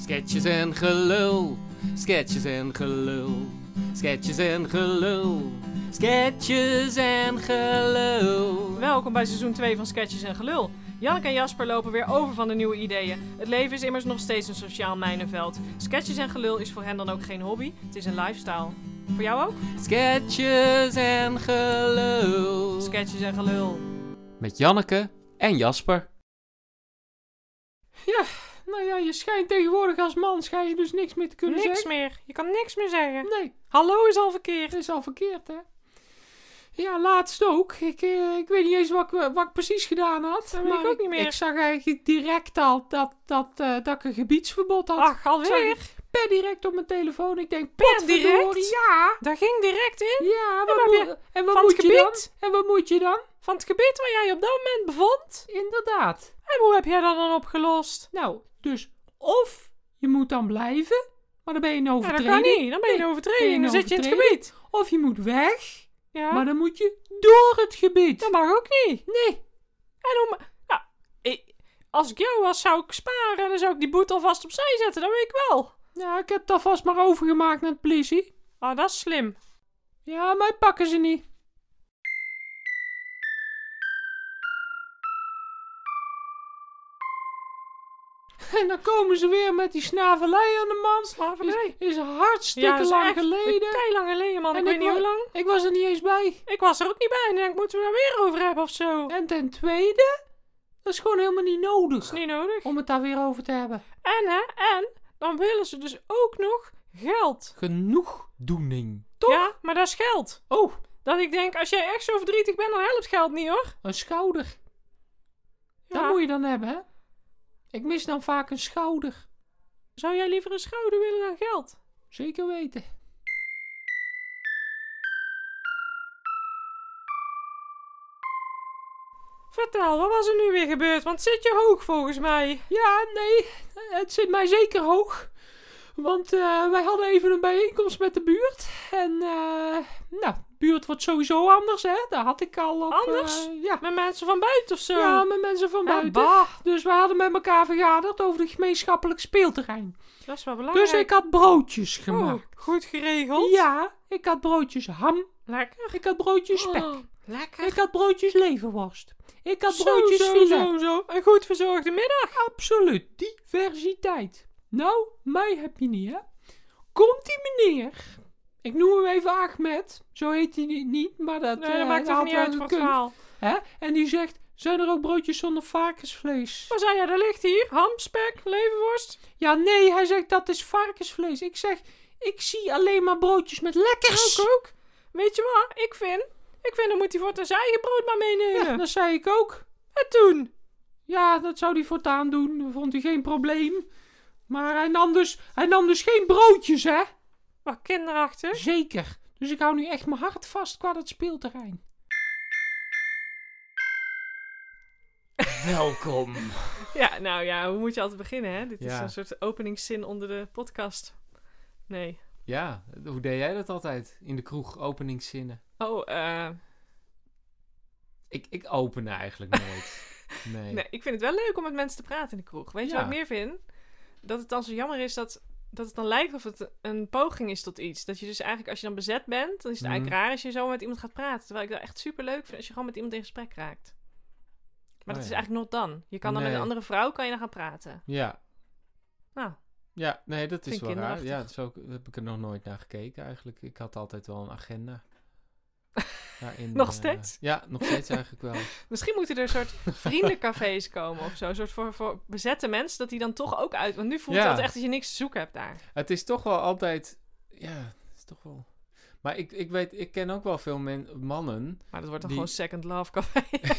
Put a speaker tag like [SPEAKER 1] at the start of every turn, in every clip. [SPEAKER 1] Sketches en gelul, sketches en gelul, sketches en gelul, sketches en gelul.
[SPEAKER 2] Welkom bij seizoen 2 van Sketches en Gelul. Janneke en Jasper lopen weer over van de nieuwe ideeën. Het leven is immers nog steeds een sociaal mijnenveld. Sketches en Gelul is voor hen dan ook geen hobby, het is een lifestyle. Voor jou ook?
[SPEAKER 1] Sketches en gelul.
[SPEAKER 2] Sketches en Gelul.
[SPEAKER 1] Met Janneke en Jasper.
[SPEAKER 3] Nou ja, je schijnt tegenwoordig als man schijn je dus niks meer te kunnen
[SPEAKER 2] niks
[SPEAKER 3] zeggen.
[SPEAKER 2] meer. Je kan niks meer zeggen.
[SPEAKER 3] Nee,
[SPEAKER 2] Hallo is al verkeerd.
[SPEAKER 3] dat is al verkeerd, hè? Ja, laatst ook. Ik, eh, ik weet niet eens wat ik, wat ik precies gedaan had.
[SPEAKER 2] Dat weet ik ook niet meer.
[SPEAKER 3] Ik zag eigenlijk direct al dat, dat, eh, dat ik een gebiedsverbod had.
[SPEAKER 2] Ach, alweer.
[SPEAKER 3] Sorry. Per direct op mijn telefoon. Ik denk,
[SPEAKER 2] Per
[SPEAKER 3] potverdorie,
[SPEAKER 2] direct?
[SPEAKER 3] Ja,
[SPEAKER 2] Daar ging direct in.
[SPEAKER 3] ja.
[SPEAKER 2] maar
[SPEAKER 3] Wat moe-
[SPEAKER 2] weer
[SPEAKER 3] en wat
[SPEAKER 2] van het
[SPEAKER 3] moet je dan?
[SPEAKER 2] gebied?
[SPEAKER 3] En wat moet je dan?
[SPEAKER 2] Van het gebied waar jij je op dat moment bevond.
[SPEAKER 3] Inderdaad.
[SPEAKER 2] En hoe heb jij dat dan opgelost?
[SPEAKER 3] Nou, dus of je moet dan blijven, maar dan ben je een
[SPEAKER 2] Ja, dat
[SPEAKER 3] overtreding.
[SPEAKER 2] kan niet. Dan ben je een
[SPEAKER 3] ben je
[SPEAKER 2] overtreding.
[SPEAKER 3] een
[SPEAKER 2] Dan zit je in het
[SPEAKER 3] overtreding.
[SPEAKER 2] gebied.
[SPEAKER 3] Of je moet weg,
[SPEAKER 2] Ja,
[SPEAKER 3] maar dan moet je door het gebied.
[SPEAKER 2] dat mag ook niet.
[SPEAKER 3] Nee.
[SPEAKER 2] En om, nou, ik- als ik jou was, zou ik sparen en dan zou ik die boete alvast opzij zetten. Dat weet ik wel.
[SPEAKER 3] Ja, ik heb het alvast maar overgemaakt naar de politie.
[SPEAKER 2] Ah, dat is slim.
[SPEAKER 3] Ja, mij pakken ze niet. En dan komen ze weer met die snavelij aan de man.
[SPEAKER 2] Slavernij.
[SPEAKER 3] Is, is hartstikke
[SPEAKER 2] dat is
[SPEAKER 3] lang
[SPEAKER 2] echt
[SPEAKER 3] geleden.
[SPEAKER 2] Kei lang geleden, man.
[SPEAKER 3] En
[SPEAKER 2] ik weet
[SPEAKER 3] ik
[SPEAKER 2] niet
[SPEAKER 3] wa-
[SPEAKER 2] hoe lang.
[SPEAKER 3] Ik was er niet eens bij.
[SPEAKER 2] Ik was er ook niet bij. En ik denk, moeten we daar weer over hebben of zo?
[SPEAKER 3] En ten tweede, dat is gewoon helemaal niet nodig
[SPEAKER 2] Niet nodig.
[SPEAKER 3] om het daar weer over te hebben.
[SPEAKER 2] En, hè, en, dan willen ze dus ook nog geld.
[SPEAKER 1] Genoegdoening.
[SPEAKER 3] Toch?
[SPEAKER 2] Ja, maar dat is geld.
[SPEAKER 3] Oh,
[SPEAKER 2] Dat ik denk, als jij echt zo verdrietig bent, dan helpt geld niet, hoor.
[SPEAKER 3] een schouder.
[SPEAKER 2] Ja.
[SPEAKER 3] Dat moet je dan hebben, hè? Ik mis dan vaak een schouder.
[SPEAKER 2] Zou jij liever een schouder willen dan geld?
[SPEAKER 3] Zeker weten.
[SPEAKER 2] Vertel, wat was er nu weer gebeurd? Want zit je hoog volgens mij?
[SPEAKER 3] Ja, nee, het zit mij zeker hoog. Want eh, wij hadden even een bijeenkomst met de buurt. En, eh, nou, de buurt wordt sowieso anders, hè? Daar had ik al op. eh,
[SPEAKER 2] Anders?
[SPEAKER 3] ja.
[SPEAKER 2] Met mensen van buiten of zo?
[SPEAKER 3] ja, met mensen van
[SPEAKER 2] Ah,
[SPEAKER 3] buiten.
[SPEAKER 2] bah.
[SPEAKER 3] Dus we hadden met elkaar vergaderd over het gemeenschappelijk speelterrein.
[SPEAKER 2] Dat is wel belangrijk.
[SPEAKER 3] Dus ik had broodjes
[SPEAKER 2] Oh,
[SPEAKER 3] gemaakt.
[SPEAKER 2] goed geregeld.
[SPEAKER 3] Ja, ik had broodjes ham.
[SPEAKER 2] Lekker.
[SPEAKER 3] Ik had broodjes spek.
[SPEAKER 2] Oh, lekker.
[SPEAKER 3] Ik had broodjes leverworst. Ik had
[SPEAKER 2] Zo,
[SPEAKER 3] broodjes
[SPEAKER 2] zo,
[SPEAKER 3] filet.
[SPEAKER 2] zo, zo. Een goed verzorgde middag.
[SPEAKER 3] Absoluut, diversiteit. Nou, mij heb je niet, hè? Komt die meneer? Ik noem hem even Ahmed. Zo heet hij ni- niet, maar dat,
[SPEAKER 2] Nee, dat
[SPEAKER 3] eh,
[SPEAKER 2] maakt
[SPEAKER 3] hij
[SPEAKER 2] toch
[SPEAKER 3] had
[SPEAKER 2] niet
[SPEAKER 3] wel
[SPEAKER 2] uit voor het
[SPEAKER 3] gekund,
[SPEAKER 2] verhaal.
[SPEAKER 3] hè? En die zegt, zijn er ook broodjes zonder varkensvlees?
[SPEAKER 2] Maar zei jij, daar ligt hier ham, spek, leverworst.
[SPEAKER 3] Ja, nee, hij zegt, dat is varkensvlees. Ik zeg, ik zie alleen maar broodjes met lekkers.
[SPEAKER 2] Ook, ook. Weet je wat? Ik vind, ik vind, dan moet hij voor het zijn eigen brood maar meenemen.
[SPEAKER 3] Ja, dat zei ik ook.
[SPEAKER 2] En toen?
[SPEAKER 3] Ja, dat zou hij voortaan doen. Dat vond hij geen probleem. Maar hij nam dus, hij nam dus geen broodjes, hè?
[SPEAKER 2] Wat kinderachtig.
[SPEAKER 3] Zeker. Dus ik hou nu echt mijn hart vast qua dat speelterrein.
[SPEAKER 1] Welkom.
[SPEAKER 2] Ja, nou ja, hoe moet je altijd beginnen, hè? Dit is
[SPEAKER 1] Ja.
[SPEAKER 2] een soort openingszin onder de podcast. Nee.
[SPEAKER 1] Ja, hoe deed jij dat altijd? In de kroeg, openingszinnen.
[SPEAKER 2] Oh, eh...
[SPEAKER 1] Ik, ik open eigenlijk nooit. Nee.
[SPEAKER 2] Nee, ik vind het wel leuk om met mensen te praten in de kroeg. Weet je
[SPEAKER 1] Ja.
[SPEAKER 2] wat ik meer vind? Dat het dan zo jammer is dat, dat het dan lijkt of het een poging is tot iets. Dat je dus eigenlijk, als je dan bezet bent, dan is het
[SPEAKER 1] Mhm.
[SPEAKER 2] eigenlijk raar als je zo met iemand gaat praten. Terwijl ik dat echt super leuk vind als je gewoon met iemand in gesprek raakt. Maar
[SPEAKER 1] Oh
[SPEAKER 2] dat is
[SPEAKER 1] ja.
[SPEAKER 2] eigenlijk not dan. Je kan dan met
[SPEAKER 1] Nee.
[SPEAKER 2] een andere vrouw kan je dan gaan praten.
[SPEAKER 1] Ja.
[SPEAKER 2] Nou.
[SPEAKER 1] Ja, nee, dat
[SPEAKER 2] Vind
[SPEAKER 1] is
[SPEAKER 2] ik
[SPEAKER 1] wel raar.
[SPEAKER 2] kinderachtig.
[SPEAKER 1] Ja, dat is ook, daar heb ik er nog nooit naar gekeken eigenlijk. Ik had altijd wel een agenda. Daarin,
[SPEAKER 2] Nog
[SPEAKER 1] eh,
[SPEAKER 2] steeds?
[SPEAKER 1] ja, nog steeds eigenlijk wel.
[SPEAKER 2] Misschien moeten er een soort vriendencafés komen of zo. Een soort voor, voor bezette mensen, dat die dan toch ook uit... Want nu voelt
[SPEAKER 1] Ja.
[SPEAKER 2] het altijd echt dat je niks te zoeken hebt daar.
[SPEAKER 1] Het is toch wel altijd... Ja, het is toch wel... Maar ik, ik weet, ik ken ook wel veel men- mannen.
[SPEAKER 2] Maar dat wordt dan
[SPEAKER 1] Die-
[SPEAKER 2] gewoon second love café.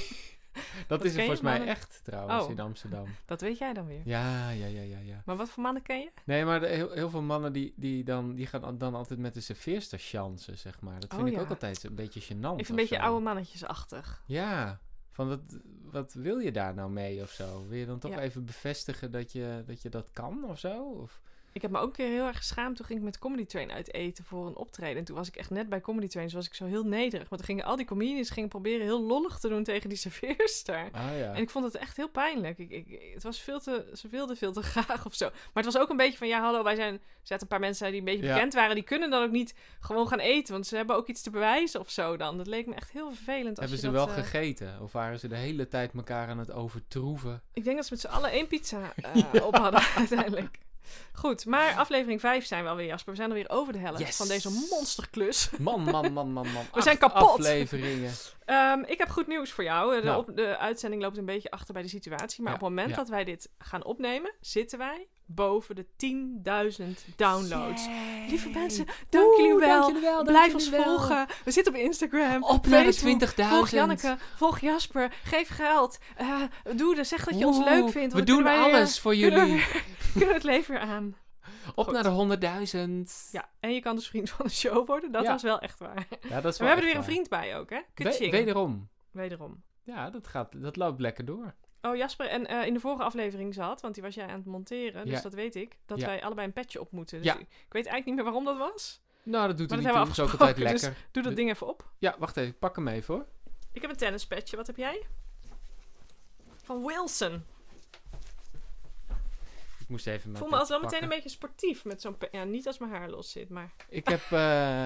[SPEAKER 1] Dat
[SPEAKER 2] Wat
[SPEAKER 1] is er
[SPEAKER 2] ken je,
[SPEAKER 1] volgens mij
[SPEAKER 2] mannen?
[SPEAKER 1] echt trouwens
[SPEAKER 2] Oh.
[SPEAKER 1] in Amsterdam.
[SPEAKER 2] dat weet jij dan weer.
[SPEAKER 1] Ja, ja, ja, ja, ja.
[SPEAKER 2] Maar wat voor mannen ken je?
[SPEAKER 1] Nee, maar de- heel, heel veel mannen die, die, dan, die gaan al- dan altijd met de serveerster chansen, zeg maar. Dat vind
[SPEAKER 2] Oh,
[SPEAKER 1] ik
[SPEAKER 2] ja.
[SPEAKER 1] ook altijd een beetje gênant.
[SPEAKER 2] Ik vind
[SPEAKER 1] of
[SPEAKER 2] een beetje
[SPEAKER 1] zo.
[SPEAKER 2] oude mannetjesachtig.
[SPEAKER 1] Ja, van wat, wat wil je daar nou mee of zo? Wil je dan toch
[SPEAKER 2] Ja.
[SPEAKER 1] even bevestigen dat je, dat je dat kan of zo? Of,
[SPEAKER 2] Ik heb me ook een keer heel erg geschaamd. Toen ging ik met Comedy Train uit eten voor een optreden. En toen was ik echt net bij Comedy Train. Dus was ik zo heel nederig. Maar toen gingen al die comedians gingen proberen heel lollig te doen tegen die serveerster.
[SPEAKER 1] Ah ja.
[SPEAKER 2] En ik vond het echt heel pijnlijk. Ik, ik, het was veel te, ze wilden veel te graag of zo. Maar het was ook een beetje van, ja hallo, wij zijn... Er zaten een paar mensen die een beetje
[SPEAKER 1] Ja.
[SPEAKER 2] bekend waren. Die kunnen dan ook niet gewoon gaan eten. Want ze hebben ook iets te bewijzen of zo dan. Dat leek me echt heel vervelend. Als
[SPEAKER 1] Hebben
[SPEAKER 2] je
[SPEAKER 1] ze
[SPEAKER 2] dat,
[SPEAKER 1] wel
[SPEAKER 2] eh,
[SPEAKER 1] gegeten? Of waren ze de hele tijd elkaar aan het overtroeven?
[SPEAKER 2] Ik denk dat ze met z'n allen één pizza eh, op hadden uiteindelijk. Goed, maar aflevering 5 zijn we alweer, Jasper. We zijn alweer over de helft
[SPEAKER 1] Yes.
[SPEAKER 2] van deze monsterklus.
[SPEAKER 1] Man, man, man, man, man.
[SPEAKER 2] We zijn
[SPEAKER 1] Acht
[SPEAKER 2] kapot.
[SPEAKER 1] afleveringen.
[SPEAKER 2] Ehm, ik heb goed nieuws voor jou. Eh, De,
[SPEAKER 1] Nou.
[SPEAKER 2] op, de uitzending loopt een beetje achter bij de situatie. Maar
[SPEAKER 1] Ja,
[SPEAKER 2] op het moment
[SPEAKER 1] ja.
[SPEAKER 2] dat wij dit gaan opnemen, zitten wij boven de 10.000 downloads. Lieve mensen, dank
[SPEAKER 1] Oeh,
[SPEAKER 2] jullie wel.
[SPEAKER 1] dank jullie wel, dank
[SPEAKER 2] Blijf
[SPEAKER 1] jullie
[SPEAKER 2] ons
[SPEAKER 1] wel.
[SPEAKER 2] volgen. We zitten op Instagram.
[SPEAKER 1] Op naar de
[SPEAKER 2] Facebook.
[SPEAKER 1] 20.000.
[SPEAKER 2] Volg Janneke, volg Jasper, geef geld. Eh, doe er, zeg dat je ons
[SPEAKER 1] Woe,
[SPEAKER 2] leuk vindt. want
[SPEAKER 1] We
[SPEAKER 2] dan
[SPEAKER 1] doen
[SPEAKER 2] kunnen wij, eh,
[SPEAKER 1] alles voor
[SPEAKER 2] kunnen
[SPEAKER 1] jullie.
[SPEAKER 2] kunnen het leven weer aan.
[SPEAKER 1] Op
[SPEAKER 2] Goed.
[SPEAKER 1] naar de 100.000.
[SPEAKER 2] Ja, en je kan dus vriend van de show worden. Dat
[SPEAKER 1] Ja.
[SPEAKER 2] was wel echt waar. En
[SPEAKER 1] Ja, dat is
[SPEAKER 2] we
[SPEAKER 1] wel
[SPEAKER 2] hebben er weer
[SPEAKER 1] echt
[SPEAKER 2] een
[SPEAKER 1] waar.
[SPEAKER 2] vriend bij ook, hè?
[SPEAKER 1] We-
[SPEAKER 2] Kutching.
[SPEAKER 1] wederom.
[SPEAKER 2] Wederom.
[SPEAKER 1] Ja, dat, gaat, dat loopt lekker door.
[SPEAKER 2] Oh, Jasper, en eh, in de vorige aflevering zat, want die was jij aan het monteren, dus
[SPEAKER 1] Ja.
[SPEAKER 2] dat weet ik, dat
[SPEAKER 1] Ja.
[SPEAKER 2] wij allebei een petje op moeten. Dus
[SPEAKER 1] Ja.
[SPEAKER 2] ik, ik weet eigenlijk niet meer waarom dat was.
[SPEAKER 1] Nou, dat doet
[SPEAKER 2] Maar
[SPEAKER 1] hij
[SPEAKER 2] dat hebben we
[SPEAKER 1] niet toe. Dat is ook altijd
[SPEAKER 2] afgesproken, dus-
[SPEAKER 1] lekker.
[SPEAKER 2] Doe dat
[SPEAKER 1] De-
[SPEAKER 2] ding even op.
[SPEAKER 1] Ja, wacht even. Ik pak hem even hoor.
[SPEAKER 2] Ik heb een tennispetje, wat heb jij? Van Wilson.
[SPEAKER 1] Ik moest even
[SPEAKER 2] Ik
[SPEAKER 1] mijn
[SPEAKER 2] voel me altijd wel
[SPEAKER 1] petje
[SPEAKER 2] meteen een beetje
[SPEAKER 1] pakken.
[SPEAKER 2] sportief met zo'n petje. Ja, niet als mijn haar los zit, maar
[SPEAKER 1] Ik heb... eh,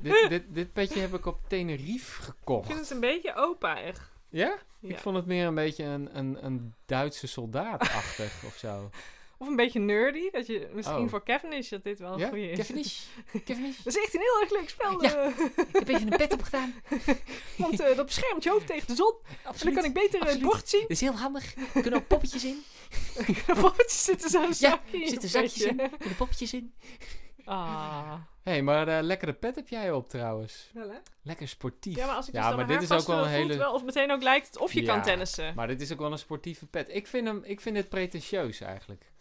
[SPEAKER 1] dit, dit, dit petje heb ik op Tenerife
[SPEAKER 2] ik vind
[SPEAKER 1] gekocht.
[SPEAKER 2] het een beetje opa, echt.
[SPEAKER 1] Ja?
[SPEAKER 2] Ja.
[SPEAKER 1] Ik vond het meer een beetje een, een, een Duitse soldaatachtig of zo.
[SPEAKER 2] Of een beetje nerdy, dat je misschien
[SPEAKER 1] Oh.
[SPEAKER 2] voor Kevin is dat dit wel een
[SPEAKER 1] ja?
[SPEAKER 2] goeie is.
[SPEAKER 1] Kevinish. Kevinish.
[SPEAKER 2] Dat is echt een heel erg leuk spel.
[SPEAKER 1] Ja.
[SPEAKER 2] eh.
[SPEAKER 1] Ik heb even een pet opgedaan.
[SPEAKER 2] Want eh, dat beschermt je hoofd tegen de zon. En dan kan ik beter eh, het
[SPEAKER 1] absoluut.
[SPEAKER 2] bord zien.
[SPEAKER 1] Dat is heel handig. Er kunnen ook poppetjes in.
[SPEAKER 2] De bordjes zitten zo'n zakje in.
[SPEAKER 1] zitten
[SPEAKER 2] een
[SPEAKER 1] zakjes
[SPEAKER 2] beetje.
[SPEAKER 1] Er kunnen poppetjes in.
[SPEAKER 2] Ah.
[SPEAKER 1] Hé, hey, maar eh, lekkere pet heb jij op trouwens.
[SPEAKER 2] Wel, hè?
[SPEAKER 1] Lekker sportief.
[SPEAKER 2] Ja, maar als ik
[SPEAKER 1] Ja,
[SPEAKER 2] dus dan
[SPEAKER 1] maar
[SPEAKER 2] mijn
[SPEAKER 1] dit
[SPEAKER 2] haar
[SPEAKER 1] is ook wel
[SPEAKER 2] vast
[SPEAKER 1] een
[SPEAKER 2] wil, voelt
[SPEAKER 1] hele-
[SPEAKER 2] wel of meteen ook lijkt het of je
[SPEAKER 1] Ja.
[SPEAKER 2] kan tennissen.
[SPEAKER 1] Maar dit is ook wel een sportieve pet. Ik vind, hem, ik vind dit pretentieus eigenlijk.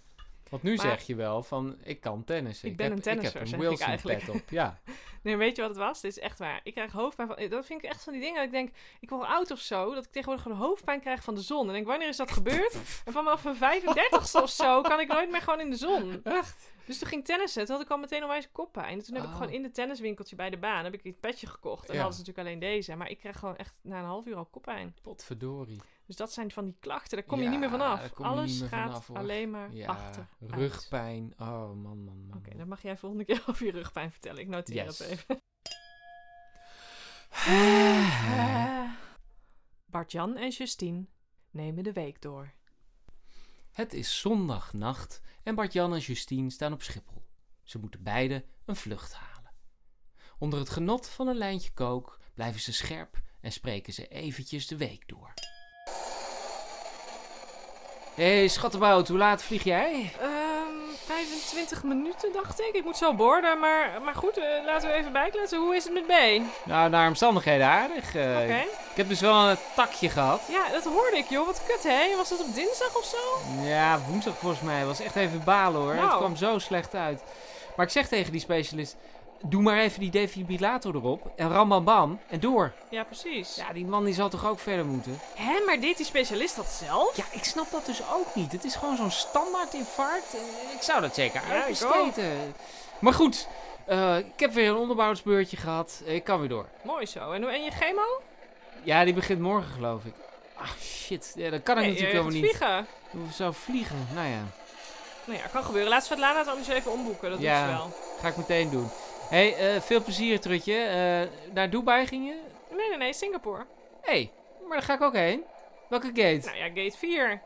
[SPEAKER 1] Want nu
[SPEAKER 2] Maar-
[SPEAKER 1] zeg je wel van, ik kan tennissen.
[SPEAKER 2] Ik ben een
[SPEAKER 1] tennis.
[SPEAKER 2] tennisser,
[SPEAKER 1] Ik
[SPEAKER 2] zeg
[SPEAKER 1] heb
[SPEAKER 2] ik
[SPEAKER 1] een Wilson
[SPEAKER 2] eigenlijk.
[SPEAKER 1] pet op, ja.
[SPEAKER 2] Nee, weet je wat het was? Dit is echt waar. Ik krijg hoofdpijn van... Dat vind ik echt van die dingen dat ik denk... Ik word oud of zo. Dat ik tegenwoordig gewoon hoofdpijn krijg van de zon. En denk, wanneer is dat gebeurd? En vanaf mijn 35ste of zo kan ik nooit meer gewoon in de zon.
[SPEAKER 1] Echt?
[SPEAKER 2] Dus toen ging ik tennissen. Toen had ik al meteen onwijs koppijn. En toen heb ik
[SPEAKER 1] Oh.
[SPEAKER 2] gewoon in de tenniswinkeltje bij de baan... heb ik het petje gekocht. En
[SPEAKER 1] Ja.
[SPEAKER 2] hadden ze natuurlijk alleen deze. Maar ik krijg gewoon echt na een half uur al koppijn.
[SPEAKER 1] Potverdorie.
[SPEAKER 2] Dus dat zijn van die klachten, daar kom je
[SPEAKER 1] Ja,
[SPEAKER 2] niet meer
[SPEAKER 1] daar
[SPEAKER 2] vanaf.
[SPEAKER 1] kom je
[SPEAKER 2] Alles
[SPEAKER 1] niet meer
[SPEAKER 2] gaat
[SPEAKER 1] vanaf, hoor.
[SPEAKER 2] alleen maar
[SPEAKER 1] Ja,
[SPEAKER 2] achter. Oké,
[SPEAKER 1] rugpijn. Oh, man, man, man. man.
[SPEAKER 2] dan mag jij volgende keer over je rugpijn vertellen. Ik noteer
[SPEAKER 1] Yes.
[SPEAKER 2] het even. Bart-Jan en Justine nemen de week door.
[SPEAKER 1] Het is zondagnacht en Bart-Jan en Justine staan op Schiphol. Ze moeten beiden een vlucht halen. Onder het genot van een lijntje kook blijven ze scherp en spreken ze eventjes de week door. Hé, hey, schattenbout, hoe laat vlieg jij?
[SPEAKER 2] Ehm, 25 minuten, dacht ik. Ik moet zo borden, maar, maar goed, eh, laten we even bijkletsen. Hoe is het met B? Oké,
[SPEAKER 1] Nou, naar omstandigheden aardig. eh. Ik heb dus wel een takje gehad.
[SPEAKER 2] ja, dat hoorde ik, joh. Wat kut, hè? Was dat op dinsdag of zo?
[SPEAKER 1] Ja, woensdag volgens mij. was echt even balen hoor. Het
[SPEAKER 2] Nou.
[SPEAKER 1] kwam zo slecht uit. Maar ik zeg tegen die specialist... Doe maar even die defibrillator erop. En ram bam bam. En door.
[SPEAKER 2] Ja, precies.
[SPEAKER 1] Ja, die man die zal toch ook verder moeten?
[SPEAKER 2] Hè, maar deed die specialist dat zelf?
[SPEAKER 1] Ja, ik snap dat dus ook niet. Het is gewoon zo'n standaard infarct. Eh, Ik zou dat zeker
[SPEAKER 2] Ja, ik
[SPEAKER 1] uitbesteden. Maar goed, eh, ik heb weer een onderbouwsbeurtje gehad. Ik kan weer door.
[SPEAKER 2] Mooi zo. En, hoe- en je chemo?
[SPEAKER 1] Ja, die begint morgen geloof ik. Ah, shit. Ja, dat kan ik
[SPEAKER 2] Nee,
[SPEAKER 1] natuurlijk
[SPEAKER 2] je
[SPEAKER 1] helemaal
[SPEAKER 2] gaat
[SPEAKER 1] niet.
[SPEAKER 2] vliegen.
[SPEAKER 1] Hoe zou vliegen? Nou ja,
[SPEAKER 2] Nou ja, kan gebeuren. Laat Svetlana het anders even omboeken. Dat
[SPEAKER 1] Ja.
[SPEAKER 2] doet ze wel.
[SPEAKER 1] ga ik meteen doen. hey, eh, veel plezier Trutje. Eh, naar Dubai ging je?
[SPEAKER 2] Nee, nee, nee. Singapore.
[SPEAKER 1] Hé, hey, maar daar ga ik ook heen. Welke gate?
[SPEAKER 2] Nou ja, gate 4.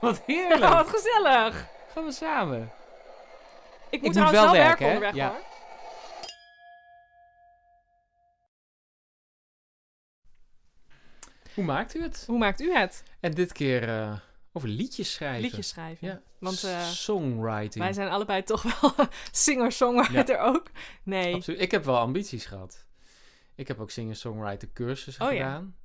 [SPEAKER 1] Wat
[SPEAKER 2] Oh,
[SPEAKER 1] heerlijk.
[SPEAKER 2] wat gezellig.
[SPEAKER 1] Gaan we samen.
[SPEAKER 2] Ik moet,
[SPEAKER 1] moet
[SPEAKER 2] trouwens
[SPEAKER 1] wel
[SPEAKER 2] wel werken,
[SPEAKER 1] werken, hè?
[SPEAKER 2] onderweg
[SPEAKER 1] Ja.
[SPEAKER 2] hoor.
[SPEAKER 1] Hoe maakt u het?
[SPEAKER 2] Hoe maakt u het?
[SPEAKER 1] En dit keer eh, over liedjes schrijven.
[SPEAKER 2] Liedjes schrijven.
[SPEAKER 1] Ja.
[SPEAKER 2] Want eh,
[SPEAKER 1] Songwriting.
[SPEAKER 2] wij zijn allebei toch wel singer-songwriter ook. Nee.
[SPEAKER 1] Absoluut. Ik heb wel ambities gehad. Ik heb ook singer-songwriter cursussen
[SPEAKER 2] Oh ja.
[SPEAKER 1] gedaan.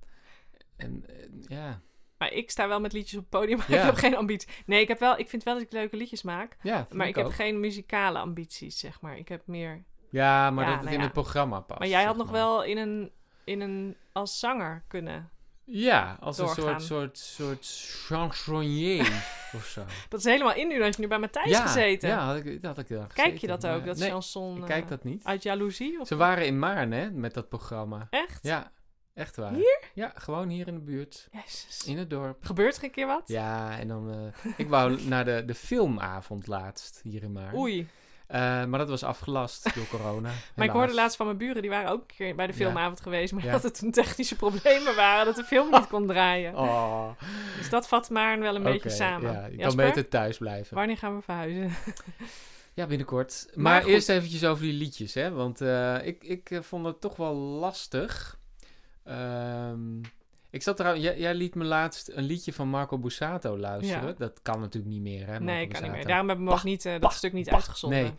[SPEAKER 1] En eh, ja.
[SPEAKER 2] Maar ik sta wel met liedjes op het podium, maar
[SPEAKER 1] Ja.
[SPEAKER 2] ik heb geen ambitie. Nee, ik, heb wel, ik vind wel dat ik leuke liedjes maak.
[SPEAKER 1] ja vind
[SPEAKER 2] Maar ik heb
[SPEAKER 1] ook.
[SPEAKER 2] geen muzikale ambities, zeg maar. Ik heb meer...
[SPEAKER 1] Ja, maar
[SPEAKER 2] Ja,
[SPEAKER 1] dat het
[SPEAKER 2] nou
[SPEAKER 1] in
[SPEAKER 2] ja.
[SPEAKER 1] het programma past.
[SPEAKER 2] Maar jij had
[SPEAKER 1] zeg
[SPEAKER 2] nog wel in een, in een... als zanger kunnen.
[SPEAKER 1] Ja, als
[SPEAKER 2] doorgaan.
[SPEAKER 1] een soort, soort, soort chansonnier. of zo.
[SPEAKER 2] Dat is helemaal in nu, dat je nu bij Matthijs
[SPEAKER 1] ja,
[SPEAKER 2] gezeten.
[SPEAKER 1] Ja, had ik, dat had ik daar
[SPEAKER 2] Kijk je
[SPEAKER 1] gezeten,
[SPEAKER 2] dat ook,
[SPEAKER 1] maar-
[SPEAKER 2] dat
[SPEAKER 1] nee,
[SPEAKER 2] chanson
[SPEAKER 1] ik
[SPEAKER 2] eh, oh.
[SPEAKER 1] kijk dat niet.
[SPEAKER 2] uit jaloezie? Of
[SPEAKER 1] Ze waren in Maarn, hè, met dat programma.
[SPEAKER 2] Echt?
[SPEAKER 1] Ja, echt waar.
[SPEAKER 2] Hier?
[SPEAKER 1] Ja, gewoon hier in de buurt.
[SPEAKER 2] Jezus.
[SPEAKER 1] In het dorp.
[SPEAKER 2] Gebeurt er een keer wat?
[SPEAKER 1] Ja, en dan... eh, ik wou naar de, de filmavond laatst hier in Maarn.
[SPEAKER 2] Oei.
[SPEAKER 1] Eh, maar dat was afgelast door corona.
[SPEAKER 2] Maar ik
[SPEAKER 1] helaas.
[SPEAKER 2] hoorde laatst van mijn buren, die waren ook een keer bij de
[SPEAKER 1] Ja.
[SPEAKER 2] filmavond geweest, maar
[SPEAKER 1] Ja.
[SPEAKER 2] dat het toen technische problemen waren, dat de film niet kon draaien.
[SPEAKER 1] Oh,
[SPEAKER 2] Dus dat vat maar wel een beetje samen.
[SPEAKER 1] Ja, je kan
[SPEAKER 2] Jasper,
[SPEAKER 1] beter thuis blijven.
[SPEAKER 2] wanneer gaan we verhuizen?
[SPEAKER 1] Ja, binnenkort. Maar,
[SPEAKER 2] Maar goed.
[SPEAKER 1] eerst eventjes over die liedjes, hè. Want eh, ik, ik eh, vond het toch wel lastig. Ehm, ik zat trouwens... Jij, jij liet me laatst een liedje van Marco Bussato luisteren.
[SPEAKER 2] Ja.
[SPEAKER 1] Dat kan natuurlijk niet meer, hè, Marco
[SPEAKER 2] nee, kan niet meer.
[SPEAKER 1] Borsato.
[SPEAKER 2] Daarom hebben we hem ook niet, eh, dat stuk niet uitgezonden.
[SPEAKER 1] Nee.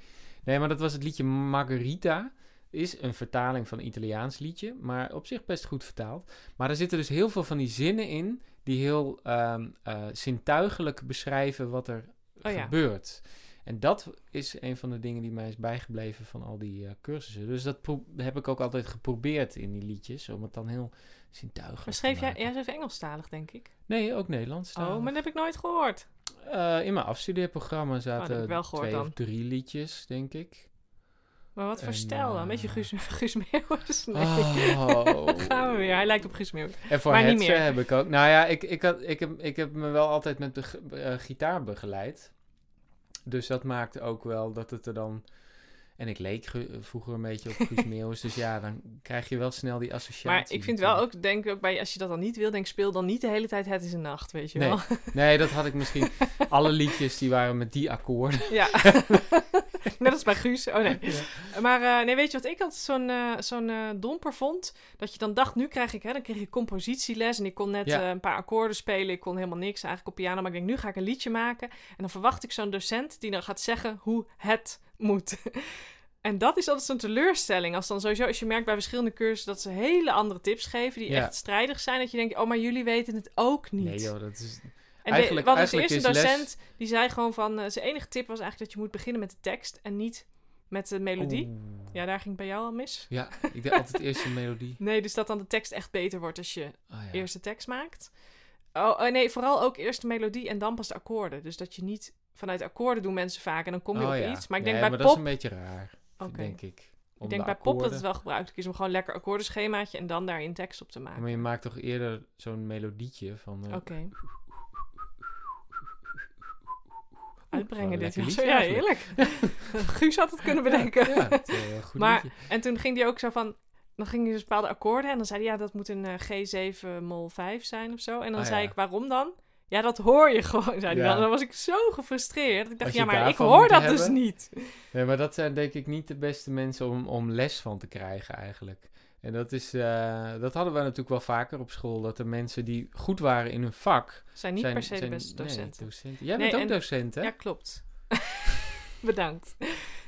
[SPEAKER 1] nee, maar dat was het liedje Margarita. Is een vertaling van een Italiaans liedje, maar op zich best goed vertaald. Maar er zitten dus heel veel van die zinnen in die heel ehm, eh, zintuigelijk beschrijven wat er
[SPEAKER 2] Oh ja.
[SPEAKER 1] gebeurt. En dat is een van de dingen die mij is bijgebleven van al die eh, cursussen. Dus dat pro- heb ik ook altijd geprobeerd in die liedjes, om het dan heel zintuigelijk
[SPEAKER 2] Maar schreef
[SPEAKER 1] te
[SPEAKER 2] jij,
[SPEAKER 1] maken.
[SPEAKER 2] jij schreef Engelstalig, denk ik.
[SPEAKER 1] Nee, ook Nederlands.
[SPEAKER 2] Oh, maar dat heb ik nooit gehoord.
[SPEAKER 1] Eh, in mijn afstudeerprogramma
[SPEAKER 2] dat
[SPEAKER 1] zaten
[SPEAKER 2] heb ik wel gehoord
[SPEAKER 1] twee
[SPEAKER 2] dan.
[SPEAKER 1] of drie liedjes, denk ik.
[SPEAKER 2] Maar wat voor
[SPEAKER 1] En,
[SPEAKER 2] stijl dan? Beetje
[SPEAKER 1] eh,
[SPEAKER 2] Guus, Guus Meeuwis? Nee.
[SPEAKER 1] Oh.
[SPEAKER 2] Gaan we weer. Hij lijkt op Guus Meeuwis.
[SPEAKER 1] En voor
[SPEAKER 2] Maar niet
[SPEAKER 1] hetsen
[SPEAKER 2] meer.
[SPEAKER 1] heb ik ook. Nou ja, ik, ik, had, ik, heb, ik heb me wel altijd met de g- eh, gitaar begeleid. Dus dat maakt ook wel dat het er dan... En ik leek ge- vroeger een beetje op Guus Meeuwis. dus ja, dan krijg je wel snel die associatie.
[SPEAKER 2] Maar ik vind wel
[SPEAKER 1] natuurlijk.
[SPEAKER 2] ook, denk ik ook bij, als je dat dan niet wil, denk speel dan niet de hele tijd Het is een nacht, weet je
[SPEAKER 1] Nee.
[SPEAKER 2] wel.
[SPEAKER 1] Nee, dat had ik misschien... Alle liedjes die waren met die akkoorden.
[SPEAKER 2] Ja. Net als bij Guus. Oh nee. Maar eh, nee, weet je wat ik altijd zo'n eh, zo'n eh, domper vond? Dat je dan dacht, nu krijg ik, hè, dan kreeg je compositieles en ik kon net
[SPEAKER 1] Ja.
[SPEAKER 2] eh, een paar akkoorden spelen. Ik kon helemaal niks eigenlijk op piano. Maar ik denk, nu ga ik een liedje maken. En dan verwacht ik zo'n docent die dan gaat zeggen hoe het moet. En dat is altijd zo'n teleurstelling. Als dan sowieso, als je merkt bij verschillende cursussen dat ze hele andere tips geven, die
[SPEAKER 1] Ja.
[SPEAKER 2] echt strijdig zijn, dat je denkt, oh, maar jullie weten het ook niet.
[SPEAKER 1] Nee joh, dat is...
[SPEAKER 2] En
[SPEAKER 1] Eigenlijk-
[SPEAKER 2] de, wat was de
[SPEAKER 1] eigenlijk
[SPEAKER 2] eerste
[SPEAKER 1] is les-
[SPEAKER 2] docent, die zei gewoon van... eh, zijn enige tip was eigenlijk dat je moet beginnen met de tekst en niet met de melodie.
[SPEAKER 1] Oeh.
[SPEAKER 2] Ja, daar ging het bij jou al mis.
[SPEAKER 1] Ja, ik deed altijd eerst een melodie.
[SPEAKER 2] Nee, dus dat dan de tekst echt beter wordt als je
[SPEAKER 1] Oh, ja.
[SPEAKER 2] eerst de tekst maakt. Oh, eh, nee, vooral ook eerst de melodie en dan pas de akkoorden. Dus dat je niet... Vanuit akkoorden doen mensen vaak en dan kom je
[SPEAKER 1] Oh,
[SPEAKER 2] op
[SPEAKER 1] ja.
[SPEAKER 2] iets. Maar ik
[SPEAKER 1] Nee,
[SPEAKER 2] denk bij
[SPEAKER 1] maar dat is
[SPEAKER 2] pop...
[SPEAKER 1] een beetje raar,
[SPEAKER 2] Oké.
[SPEAKER 1] denk ik. Om
[SPEAKER 2] Ik denk
[SPEAKER 1] de
[SPEAKER 2] bij pop dat
[SPEAKER 1] akkoorden-
[SPEAKER 2] het wel gebruikt is om gewoon lekker akkoordenschemaatje en dan daarin tekst op te
[SPEAKER 1] Ja,
[SPEAKER 2] maken.
[SPEAKER 1] Maar je maakt toch eerder zo'n melodietje van... eh,
[SPEAKER 2] Oké. Uitbrengen
[SPEAKER 1] wel een
[SPEAKER 2] dit.
[SPEAKER 1] lekker
[SPEAKER 2] Ja,
[SPEAKER 1] liedje
[SPEAKER 2] ja,
[SPEAKER 1] eigenlijk.
[SPEAKER 2] heerlijk. Guus had het kunnen bedenken.
[SPEAKER 1] Ja, het, eh, heel goed
[SPEAKER 2] Maar-
[SPEAKER 1] liedje.
[SPEAKER 2] En toen ging hij ook zo van... Dan ging hij dus bepaalde akkoorden en dan zei hij... Ja, dat moet een eh, G7 mol 5 zijn of zo. En dan
[SPEAKER 1] Ah,
[SPEAKER 2] zei
[SPEAKER 1] ja.
[SPEAKER 2] ik, waarom dan? Ja, dat hoor je gewoon, zei hij
[SPEAKER 1] Ja.
[SPEAKER 2] dan. En dan was ik zo gefrustreerd. dat Ik dacht,
[SPEAKER 1] Als
[SPEAKER 2] ja,
[SPEAKER 1] je
[SPEAKER 2] maar ik
[SPEAKER 1] daarvan
[SPEAKER 2] hoor
[SPEAKER 1] moet
[SPEAKER 2] dat
[SPEAKER 1] hebben.
[SPEAKER 2] dus niet.
[SPEAKER 1] Nee, maar dat zijn denk ik niet de beste mensen om, om les van te krijgen eigenlijk. En dat is, eh, dat hadden we natuurlijk wel vaker op school. Dat de mensen die goed waren in hun vak...
[SPEAKER 2] Zijn niet
[SPEAKER 1] zijn,
[SPEAKER 2] per se
[SPEAKER 1] zijn-
[SPEAKER 2] de beste
[SPEAKER 1] nee,
[SPEAKER 2] docenten.
[SPEAKER 1] docenten. Jij
[SPEAKER 2] Nee,
[SPEAKER 1] bent ook
[SPEAKER 2] en-
[SPEAKER 1] docent, hè?
[SPEAKER 2] ja, klopt. Bedankt.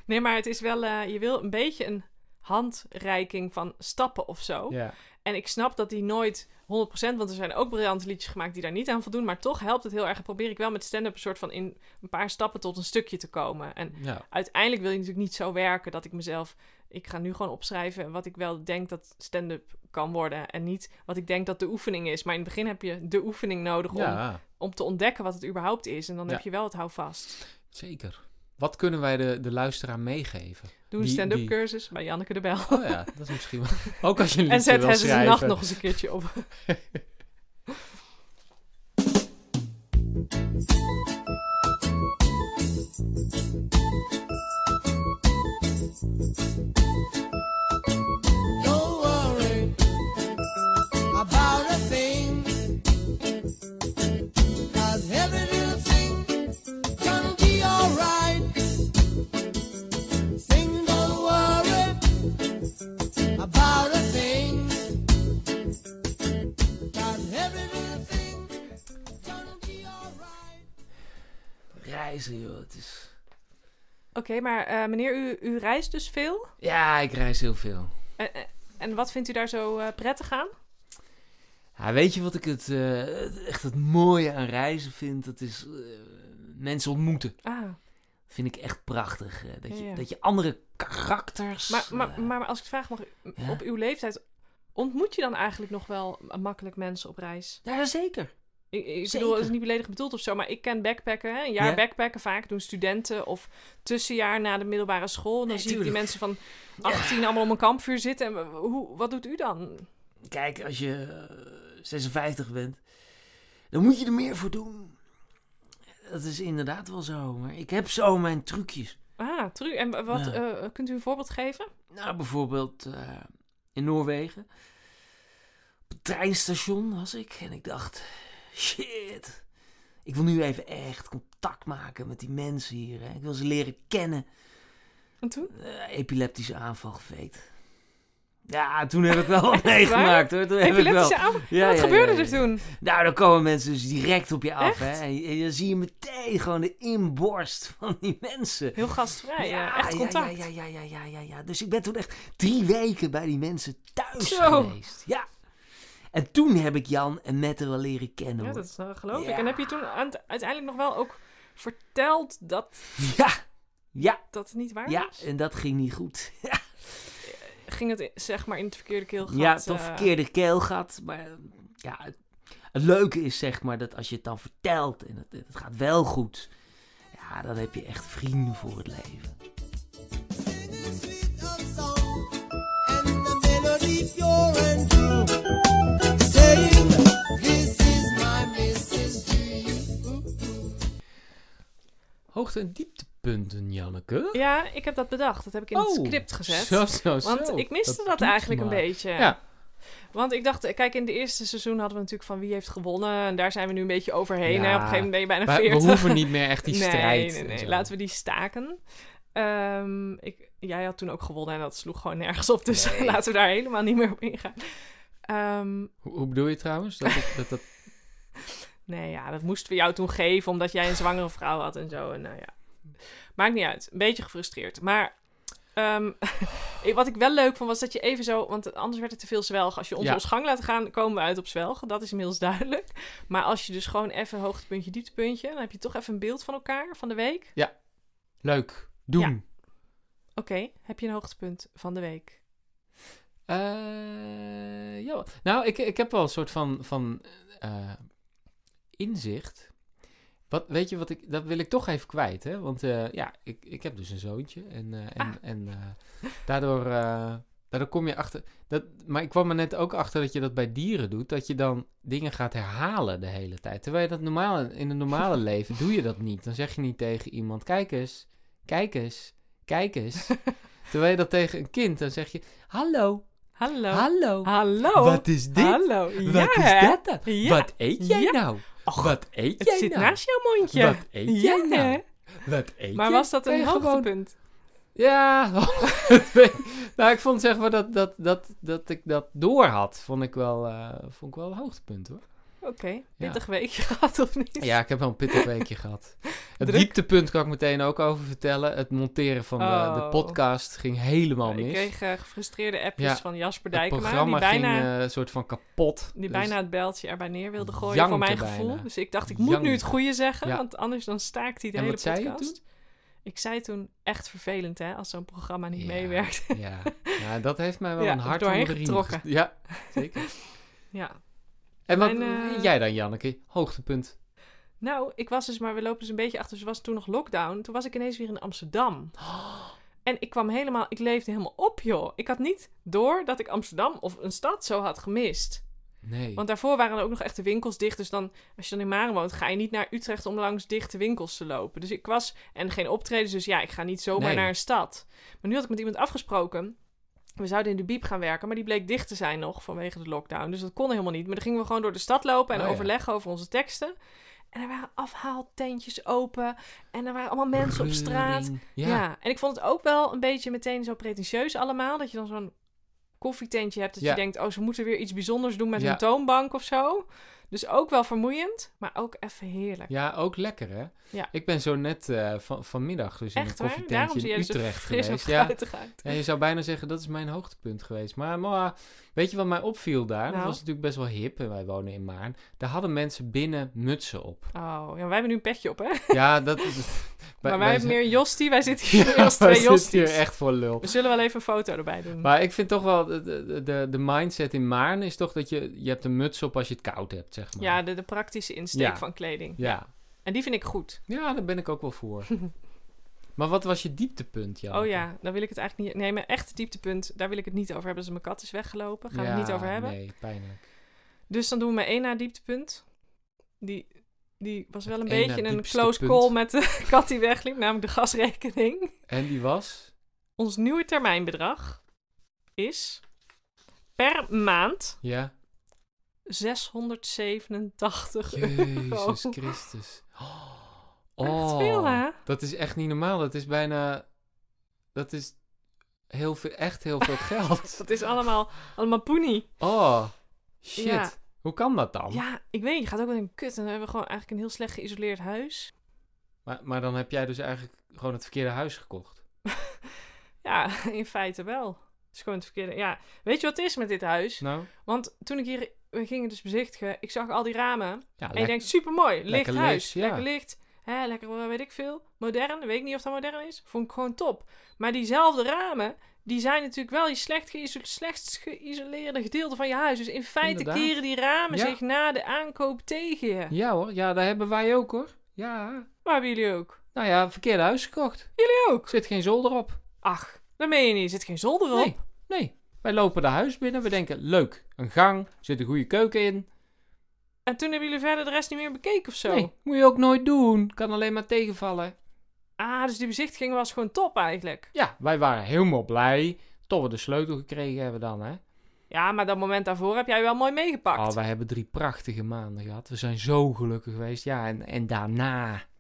[SPEAKER 2] Nee, maar het is wel... eh, je wil een beetje een handreiking van stappen of zo.
[SPEAKER 1] Ja.
[SPEAKER 2] En ik snap dat die nooit 100%, want er zijn ook briljante liedjes gemaakt die daar niet aan voldoen. Maar toch helpt het heel erg. En probeer ik wel met stand-up een soort van in een paar stappen tot een stukje te komen. En
[SPEAKER 1] Ja.
[SPEAKER 2] uiteindelijk wil je natuurlijk niet zo werken dat ik mezelf. Ik ga nu gewoon opschrijven wat ik wel denk dat stand-up kan worden. En niet wat ik denk dat de oefening is. Maar in het begin heb je de oefening nodig om,
[SPEAKER 1] ja,
[SPEAKER 2] om te ontdekken wat het überhaupt is. En dan
[SPEAKER 1] Ja.
[SPEAKER 2] heb je wel het houvast.
[SPEAKER 1] zeker. Wat kunnen wij de, de luisteraar meegeven?
[SPEAKER 2] Doe een
[SPEAKER 1] Die-
[SPEAKER 2] stand-up
[SPEAKER 1] die-
[SPEAKER 2] cursus bij Janneke de Bel.
[SPEAKER 1] Oh ja, dat is misschien wel... Ook als je een liedje
[SPEAKER 2] en zet
[SPEAKER 1] wil
[SPEAKER 2] Hesse de
[SPEAKER 1] schrijven.
[SPEAKER 2] Nacht nog eens een keertje op.
[SPEAKER 4] Don't worry about a thing. 'Cause every little thing gonna be alright. Sing, don't worry about a thing. 'Cause every little thing gonna be alright.
[SPEAKER 1] Reizen, joh. Het is...
[SPEAKER 2] Oké, maar eh, meneer, u, u reist dus veel?
[SPEAKER 1] Ja, ik reis heel veel.
[SPEAKER 2] En, en- en wat vindt u daar zo eh, prettig aan?
[SPEAKER 1] Ja, weet je wat ik het, eh, echt het mooie aan reizen vind? Dat is eh, mensen ontmoeten.
[SPEAKER 2] Ah,
[SPEAKER 1] vind ik echt prachtig. eh, dat, je,
[SPEAKER 2] Ja, ja.
[SPEAKER 1] dat je andere karakters...
[SPEAKER 2] maar,
[SPEAKER 1] eh,
[SPEAKER 2] maar, maar als ik het vraag mag,
[SPEAKER 1] Ja?
[SPEAKER 2] op uw leeftijd ontmoet je dan eigenlijk nog wel makkelijk mensen op reis?
[SPEAKER 1] ja, zeker.
[SPEAKER 2] Ik, ik bedoel,
[SPEAKER 4] Zeker.
[SPEAKER 2] het is niet beledigend bedoeld of zo, maar ik ken backpacken. Hè? Een jaar
[SPEAKER 4] Ja.
[SPEAKER 2] backpacken vaak doen studenten of tussenjaar na de middelbare school. En
[SPEAKER 4] Nee,
[SPEAKER 2] dan zie ik die
[SPEAKER 4] tuurlijk.
[SPEAKER 2] mensen van 18 allemaal om een kampvuur zitten. En w- hoe, wat doet u dan?
[SPEAKER 4] Kijk, als je eh, 56 bent, dan moet je er meer voor doen. Dat is inderdaad wel zo, maar ik heb zo mijn trucjes.
[SPEAKER 2] Ah, tru. En w- wat,
[SPEAKER 4] Ja.
[SPEAKER 2] eh, kunt u een voorbeeld geven?
[SPEAKER 4] Nou, bijvoorbeeld eh, in Noorwegen. Op het treinstation was ik en ik dacht, shit, ik wil nu even echt contact maken met die mensen hier. Hè. Ik wil ze leren kennen.
[SPEAKER 2] En toen?
[SPEAKER 4] Eh, epileptische aanval geweest. Ja, toen heb ik wel wat meegemaakt hoor. Toen heb ik wel.
[SPEAKER 2] Epileptische aanval?
[SPEAKER 4] Ja,
[SPEAKER 2] wat
[SPEAKER 4] ja,
[SPEAKER 2] gebeurde
[SPEAKER 4] ja,
[SPEAKER 2] er
[SPEAKER 4] ja.
[SPEAKER 2] toen?
[SPEAKER 4] Nou, dan komen mensen dus direct op je af.
[SPEAKER 2] Echt?
[SPEAKER 4] Hè? En, en dan zie je meteen gewoon de inborst van die mensen.
[SPEAKER 2] Heel
[SPEAKER 4] eh,
[SPEAKER 2] gastvrij, ja. Echt contact.
[SPEAKER 4] Ja, ja, ja, ja, ja, ja. Dus ik ben toen echt drie weken bij die mensen thuis
[SPEAKER 2] Zo.
[SPEAKER 4] geweest. Ja. En toen heb ik Jan en Mette wel leren kennen.
[SPEAKER 2] Ja,
[SPEAKER 4] hoor.
[SPEAKER 2] dat is, eh, geloof ik.
[SPEAKER 4] Ja.
[SPEAKER 2] En heb je toen aan het- uiteindelijk nog wel ook verteld dat
[SPEAKER 4] ja. Ja,
[SPEAKER 2] dat het niet waar
[SPEAKER 4] ja, eh,
[SPEAKER 2] was?
[SPEAKER 4] en dat ging niet goed.
[SPEAKER 2] Ging het in- zeg maar in het verkeerde keelgat?
[SPEAKER 4] ja, toch
[SPEAKER 2] eh,
[SPEAKER 4] verkeerde keelgat. Maar eh, ja, het, het leuke is zeg maar dat als je het dan vertelt en het, het gaat wel goed, ja, dan heb je echt vrienden voor het leven.
[SPEAKER 1] Hoogte en
[SPEAKER 4] Dieptepunten, Janneke.
[SPEAKER 2] Ja, ik heb dat bedacht. Dat heb ik in het
[SPEAKER 4] Oh,
[SPEAKER 2] script gezet.
[SPEAKER 1] Zo, zo, zo.
[SPEAKER 2] Want ik miste dat,
[SPEAKER 1] doet
[SPEAKER 2] eigenlijk een
[SPEAKER 1] maar.
[SPEAKER 2] beetje.
[SPEAKER 1] Ja.
[SPEAKER 2] Want ik dacht, kijk, in het eerste seizoen hadden we natuurlijk van wie heeft gewonnen. En daar zijn we nu een beetje overheen.
[SPEAKER 1] Ja.
[SPEAKER 2] hè. Op een gegeven moment ben je bijna
[SPEAKER 1] Maar we
[SPEAKER 2] 40.
[SPEAKER 1] hoeven niet meer echt die
[SPEAKER 2] nee,
[SPEAKER 1] strijd.
[SPEAKER 2] Nee,
[SPEAKER 1] en
[SPEAKER 2] nee,
[SPEAKER 1] zo.
[SPEAKER 2] laten we die staken. Ehm, ik, jij had toen ook gewonnen en dat sloeg gewoon nergens op. Dus laten we daar helemaal niet meer op ingaan. Ehm,
[SPEAKER 1] Hoe, hoe bedoel je trouwens? Dat, ik- dat, dat...
[SPEAKER 2] nee, ja, dat moesten we jou toen geven omdat jij een zwangere vrouw had en zo. En nou ja, maakt niet uit. Een beetje gefrustreerd. Maar ehm, ik- wat ik wel leuk vond was dat je even zo... Want anders werd het te veel zwelg. Als je ons
[SPEAKER 1] Ja.
[SPEAKER 2] ons gang laat gaan, komen we uit op zwelgen. Dat is inmiddels duidelijk. Maar als je dus gewoon even hoogtepuntje, dieptepuntje... dan heb je toch even een beeld van elkaar, van de week.
[SPEAKER 1] Leuk. Doen.
[SPEAKER 2] Ja. Oké, heb je een hoogtepunt van de week?
[SPEAKER 1] Eh, ja. Nou, ik, ik heb wel een soort van, van eh, inzicht. Wat, weet je wat ik, dat wil ik toch even kwijt, hè? Want eh, ja, ik, ik heb dus een zoontje. En, eh, en,
[SPEAKER 2] Ah.
[SPEAKER 1] en eh, daardoor, eh, daardoor kom je achter. Dat, maar ik kwam er net ook achter dat je dat bij dieren doet. Dat je dan dingen gaat herhalen de hele tijd. Terwijl je dat normaal, in het normale leven doe je dat niet. Dan zeg je niet tegen iemand: kijk eens, kijk eens, kijk eens. Terwijl je dat tegen een kind, dan zeg je: hallo,
[SPEAKER 2] Hallo.
[SPEAKER 1] Hallo.
[SPEAKER 2] Hallo.
[SPEAKER 1] Wat is dit?
[SPEAKER 2] Hallo. ja,
[SPEAKER 1] Wat
[SPEAKER 2] hè?
[SPEAKER 1] is dat dan?
[SPEAKER 2] Ja.
[SPEAKER 1] Wat eet jij
[SPEAKER 2] Ja.
[SPEAKER 1] nou? Wat eet
[SPEAKER 2] Het
[SPEAKER 1] jij
[SPEAKER 2] zit
[SPEAKER 1] nou?
[SPEAKER 2] naast jouw mondje.
[SPEAKER 1] Wat eet
[SPEAKER 2] ja,
[SPEAKER 1] jij nou?
[SPEAKER 2] hè?
[SPEAKER 1] Wat eet
[SPEAKER 2] Maar
[SPEAKER 1] jij?
[SPEAKER 2] was dat
[SPEAKER 1] Kan
[SPEAKER 2] een
[SPEAKER 1] je gewoon-
[SPEAKER 2] hoogtepunt?
[SPEAKER 1] Ja, het weet- nou ik vond zeg maar dat, dat, dat, dat ik dat door had, vond ik wel, eh, vond ik wel een hoogtepunt hoor.
[SPEAKER 2] Oké, pittig weekje gehad of niet?
[SPEAKER 1] Ja, ik heb wel een pittig weekje gehad. Het
[SPEAKER 2] Druk.
[SPEAKER 1] dieptepunt kan ik meteen ook over vertellen. Het monteren van de, de
[SPEAKER 2] Oh.
[SPEAKER 1] podcast ging helemaal mis.
[SPEAKER 2] Ik kreeg eh, gefrustreerde appjes
[SPEAKER 1] Ja,
[SPEAKER 2] van Jasper
[SPEAKER 1] het
[SPEAKER 2] Dijkema, die
[SPEAKER 1] programma ging
[SPEAKER 2] bijna,
[SPEAKER 1] een soort van kapot.
[SPEAKER 2] die
[SPEAKER 1] Dus-
[SPEAKER 2] bijna het bijltje erbij neer wilde gooien,
[SPEAKER 1] Janken
[SPEAKER 2] voor mijn
[SPEAKER 1] bijna.
[SPEAKER 2] gevoel. Dus ik dacht, ik moet
[SPEAKER 1] Janken.
[SPEAKER 2] nu het goede zeggen,
[SPEAKER 1] Ja.
[SPEAKER 2] want anders dan staakt hij de
[SPEAKER 1] En
[SPEAKER 2] hele
[SPEAKER 1] wat zei je
[SPEAKER 2] podcast. Ik zei toen, echt vervelend hè, als zo'n programma niet
[SPEAKER 1] Ja.
[SPEAKER 2] meewerkt.
[SPEAKER 1] Ja, ja, dat heeft mij wel
[SPEAKER 2] Ja,
[SPEAKER 1] een hart
[SPEAKER 2] doorheen
[SPEAKER 1] onder de riem
[SPEAKER 2] getrokken.
[SPEAKER 1] gest- Ja, zeker.
[SPEAKER 2] Ja,
[SPEAKER 1] En wat
[SPEAKER 2] Mijn, eh,
[SPEAKER 1] jij dan, Janneke? Hoogtepunt.
[SPEAKER 2] Nou, ik was dus, maar we lopen dus een beetje achter. Dus was toen nog lockdown. Toen was ik ineens weer in Amsterdam. En ik kwam helemaal, ik leefde helemaal op, joh. Ik had niet door dat ik Amsterdam of een stad zo had gemist.
[SPEAKER 1] Nee.
[SPEAKER 2] Want daarvoor waren er ook nog echt de winkels dicht. Dus dan, als je dan in Maren woont, ga je niet naar Utrecht om langs dichte winkels te lopen. Dus ik was, en geen optredens, dus ja, ik ga niet zomaar
[SPEAKER 1] Nee.
[SPEAKER 2] naar een stad. Maar nu had ik met iemand afgesproken. We zouden in de biep gaan werken, maar die bleek dicht te zijn nog vanwege de lockdown. Dus dat kon helemaal niet. Maar dan gingen we gewoon door de stad lopen en
[SPEAKER 1] Oh ja.
[SPEAKER 2] overleggen over onze teksten. En er waren afhaaltentjes open. En er waren allemaal mensen op straat.
[SPEAKER 1] Reuring.
[SPEAKER 2] Ja.
[SPEAKER 1] Ja.
[SPEAKER 2] en ik vond het ook wel een beetje meteen zo pretentieus allemaal. Dat je dan zo'n koffietentje hebt. Dat
[SPEAKER 1] Ja.
[SPEAKER 2] je denkt, oh, ze moeten weer iets bijzonders doen met
[SPEAKER 1] Ja.
[SPEAKER 2] hun toonbank of zo. Dus ook wel vermoeiend, maar ook even heerlijk.
[SPEAKER 1] ja, ook lekker, hè?
[SPEAKER 2] Ja.
[SPEAKER 1] Ik ben zo net eh, van, vanmiddag dus in een
[SPEAKER 2] Echt waar? Daarom
[SPEAKER 1] koffietentje
[SPEAKER 2] zie je
[SPEAKER 1] in
[SPEAKER 2] er zo
[SPEAKER 1] Utrecht
[SPEAKER 2] fris en
[SPEAKER 1] geweest. Ja,
[SPEAKER 2] fruitig uit.
[SPEAKER 1] ja, je zou bijna zeggen, dat is mijn hoogtepunt geweest. Maar, maar weet je wat mij opviel daar? Dat
[SPEAKER 2] Nou?
[SPEAKER 1] was natuurlijk best wel hip en wij wonen in Maarn. Daar hadden mensen binnen mutsen op.
[SPEAKER 2] Oh, ja, wij hebben nu een petje op, hè?
[SPEAKER 1] Ja, dat is...
[SPEAKER 2] maar wij hebben meer Jostie, wij zitten hier
[SPEAKER 1] Ja,
[SPEAKER 2] als twee
[SPEAKER 1] we zitten
[SPEAKER 2] Josties.
[SPEAKER 1] hier echt voor lul.
[SPEAKER 2] We zullen wel even een foto erbij doen.
[SPEAKER 1] Maar ik vind toch wel, de- de, de, de mindset in Maarn is toch dat je, je hebt een muts op als je het koud hebt, zeg maar.
[SPEAKER 2] ja, de, de praktische insteek
[SPEAKER 1] Ja.
[SPEAKER 2] van kleding.
[SPEAKER 1] ja.
[SPEAKER 2] En die vind ik goed.
[SPEAKER 1] Ja, daar ben ik ook wel voor. maar wat was je dieptepunt, Jan?
[SPEAKER 2] Oh ja, dan wil ik het eigenlijk niet... Nee, mijn echt dieptepunt, daar wil ik het niet over hebben. Dus mijn kat is weggelopen, gaan we het niet over hebben.
[SPEAKER 1] Nee, pijnlijk.
[SPEAKER 2] Dus dan doen we mijn één na dieptepunt. Die, die was wel een
[SPEAKER 1] één na
[SPEAKER 2] beetje een
[SPEAKER 1] diepste
[SPEAKER 2] close
[SPEAKER 1] punt.
[SPEAKER 2] call met de kat die wegliep, namelijk de gasrekening.
[SPEAKER 1] En die was?
[SPEAKER 2] Ons nieuwe termijnbedrag is per maand
[SPEAKER 1] Ja.
[SPEAKER 2] 687 euro.
[SPEAKER 1] Jezus Christus. Oh,
[SPEAKER 2] Echt veel, hè?
[SPEAKER 1] dat is echt niet normaal. Dat is bijna, dat is heel veel, echt heel veel geld.
[SPEAKER 2] Dat is allemaal, allemaal poenie.
[SPEAKER 1] Oh, shit.
[SPEAKER 2] Ja.
[SPEAKER 1] Hoe kan dat dan?
[SPEAKER 2] Ja, ik weet niet. Je gaat ook wel een kut. En dan hebben we gewoon eigenlijk een heel slecht geïsoleerd huis.
[SPEAKER 1] Maar, maar dan heb jij dus eigenlijk gewoon het verkeerde huis gekocht.
[SPEAKER 2] Ja, in feite wel. Het is gewoon het verkeerde. Ja, weet je wat het is met dit huis?
[SPEAKER 1] Nou?
[SPEAKER 2] Want toen ik hier... We gingen dus bezichtigen. Ik zag al die ramen.
[SPEAKER 1] Ja,
[SPEAKER 2] En je denkt, supermooi, licht
[SPEAKER 1] lekker
[SPEAKER 2] huis,
[SPEAKER 1] licht, ja.
[SPEAKER 2] lekker licht, hè, lekker eh, weet ik veel, modern, weet ik niet of dat modern is, vond ik gewoon top. Maar diezelfde ramen, die zijn natuurlijk wel je slecht geïso- slechtst geïsoleerde gedeelte van je huis. Dus in feite
[SPEAKER 1] Inderdaad.
[SPEAKER 2] keren die ramen
[SPEAKER 1] Ja.
[SPEAKER 2] zich na de aankoop tegen je.
[SPEAKER 1] Ja hoor, ja, daar hebben wij ook hoor. Ja.
[SPEAKER 2] Maar hebben jullie ook?
[SPEAKER 1] Nou ja, verkeerde huis gekocht.
[SPEAKER 2] Jullie ook?
[SPEAKER 1] Zit geen zolder op.
[SPEAKER 2] Ach, dat meen je niet, er zit geen zolder op.
[SPEAKER 1] Nee, nee. Wij lopen de huis binnen, we denken, leuk, een gang, zit een goede keuken in.
[SPEAKER 2] En toen hebben jullie verder de rest niet meer bekeken of zo.
[SPEAKER 1] Nee, moet je ook nooit doen. Kan alleen maar tegenvallen.
[SPEAKER 2] Ah, dus die bezichtiging was gewoon top eigenlijk.
[SPEAKER 1] Ja, wij waren helemaal blij tot we de sleutel gekregen hebben dan, hè.
[SPEAKER 2] Ja, maar dat moment daarvoor heb jij wel mooi meegepakt.
[SPEAKER 1] Oh, wij hebben drie prachtige maanden gehad. We zijn zo gelukkig geweest. Ja, en, en daarna...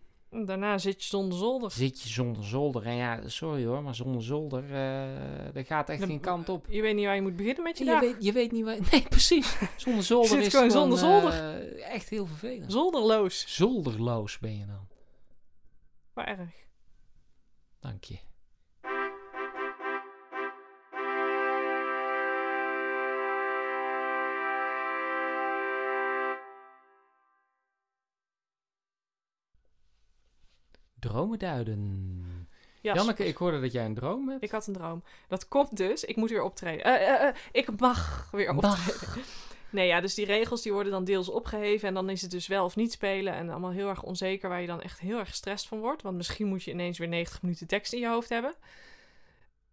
[SPEAKER 2] Daarna zit je zonder zolder.
[SPEAKER 1] zit je zonder zolder. En ja, sorry hoor, maar zonder zolder, eh dat gaat echt
[SPEAKER 2] Dan-
[SPEAKER 1] geen kant op.
[SPEAKER 2] Je weet niet waar je moet beginnen met je
[SPEAKER 1] Je
[SPEAKER 2] dag.
[SPEAKER 1] weet, je weet niet waar... Nee, precies. Zonder zolder
[SPEAKER 2] zit
[SPEAKER 1] is
[SPEAKER 2] gewoon
[SPEAKER 1] het
[SPEAKER 2] zonder
[SPEAKER 1] eh, echt heel vervelend.
[SPEAKER 2] Zonderloos.
[SPEAKER 1] Zolderloos ben je dan.
[SPEAKER 2] Maar erg.
[SPEAKER 1] Dank je. Dromen duiden.
[SPEAKER 2] Ja,
[SPEAKER 1] Janneke, ik hoorde dat jij een droom hebt.
[SPEAKER 2] ik had een droom. Dat komt dus. Ik moet weer optreden. Eh, eh, eh, ik mag weer optreden. Nee, ja, dus die regels die worden dan deels opgeheven. En dan is het dus wel of niet spelen. En allemaal heel erg onzeker waar je dan echt heel erg gestrest van wordt. Want misschien moet je ineens weer 90 minuten tekst in je hoofd hebben.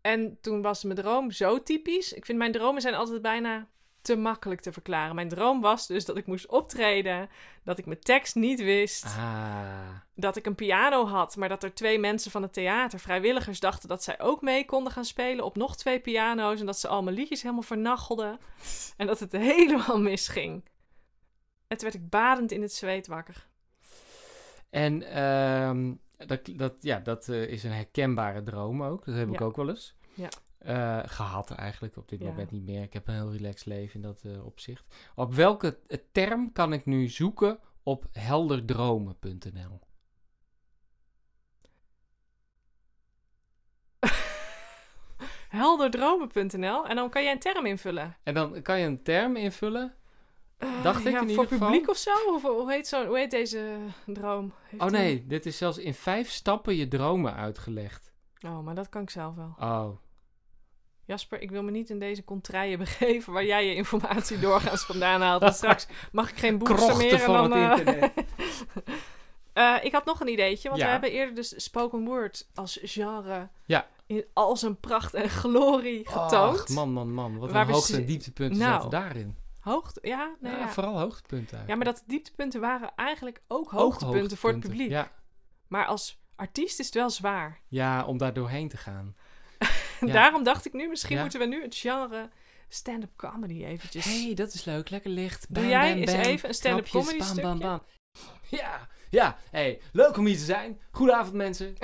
[SPEAKER 2] En toen was mijn droom zo typisch. Ik vind mijn dromen zijn altijd bijna te makkelijk te verklaren. Mijn droom was dus dat ik moest optreden. Dat ik mijn tekst niet wist.
[SPEAKER 1] Ah.
[SPEAKER 2] dat ik een piano had, maar dat er twee mensen van het theater, vrijwilligers, dachten dat zij ook mee konden gaan spelen op nog twee piano's en dat ze al mijn liedjes helemaal vernachelden en dat het helemaal misging. En toen werd ik badend in het zweet wakker.
[SPEAKER 1] En ehm, dat, dat, ja, dat eh, is een herkenbare droom ook. Dat heb ik
[SPEAKER 2] Ja.
[SPEAKER 1] ook wel eens.
[SPEAKER 2] Ja.
[SPEAKER 1] Eh, gehad eigenlijk, op dit
[SPEAKER 2] Ja.
[SPEAKER 1] moment niet meer. Ik heb een heel relaxed leven in dat eh, opzicht. Op welke eh, term kan ik nu zoeken op helderdromen.nl?
[SPEAKER 2] Helderdromen.nl en dan kan jij een term invullen.
[SPEAKER 1] En dan kan je een term invullen.
[SPEAKER 2] Eh,
[SPEAKER 1] Dacht ik
[SPEAKER 2] ja,
[SPEAKER 1] in ieder
[SPEAKER 2] voor
[SPEAKER 1] geval.
[SPEAKER 2] publiek of zo? Of, hoe, heet zo hoe heet deze droom? Heeft
[SPEAKER 1] Oh
[SPEAKER 2] die-
[SPEAKER 1] nee, dit is zelfs in vijf stappen je dromen uitgelegd.
[SPEAKER 2] Oh, maar dat kan ik zelf wel.
[SPEAKER 1] Oh,
[SPEAKER 2] Jasper, ik wil me niet in deze contraien begeven waar jij je informatie doorgaans vandaan haalt. Want straks mag ik geen boeken meer
[SPEAKER 1] krochten
[SPEAKER 2] en
[SPEAKER 1] van
[SPEAKER 2] dan... eh,
[SPEAKER 1] het internet.
[SPEAKER 2] Eh, ik had nog een ideetje, want
[SPEAKER 1] Ja.
[SPEAKER 2] we hebben eerder dus spoken word als genre
[SPEAKER 1] Ja.
[SPEAKER 2] in al zijn pracht en glorie getoond.
[SPEAKER 1] Och, man, man, man. Wat
[SPEAKER 2] Waar
[SPEAKER 1] een
[SPEAKER 2] we
[SPEAKER 1] hoogte-
[SPEAKER 2] ze-
[SPEAKER 1] en dieptepunten
[SPEAKER 2] Nou.
[SPEAKER 1] zaten daarin.
[SPEAKER 2] Hoogte, ja, nee,
[SPEAKER 1] Ja,
[SPEAKER 2] ja.
[SPEAKER 1] Vooral hoogtepunten eigenlijk.
[SPEAKER 2] Ja, maar dat dieptepunten waren eigenlijk ook
[SPEAKER 1] Ook
[SPEAKER 2] hoogtepunten, voor het publiek.
[SPEAKER 1] Ja.
[SPEAKER 2] Maar als artiest is het wel zwaar.
[SPEAKER 1] ja, om daar doorheen te gaan.
[SPEAKER 2] En
[SPEAKER 1] Ja.
[SPEAKER 2] daarom dacht ik nu, misschien
[SPEAKER 1] Ja.
[SPEAKER 2] moeten we nu het genre stand-up comedy eventjes...
[SPEAKER 1] Hé, hey, dat is leuk. Lekker licht.
[SPEAKER 2] Doe jij eens even een stand-up
[SPEAKER 1] Knapjes,
[SPEAKER 2] comedy
[SPEAKER 1] bam, bam,
[SPEAKER 2] stukje?
[SPEAKER 1] bam. Ja, ja. Hey, leuk om hier te zijn. Goedenavond mensen.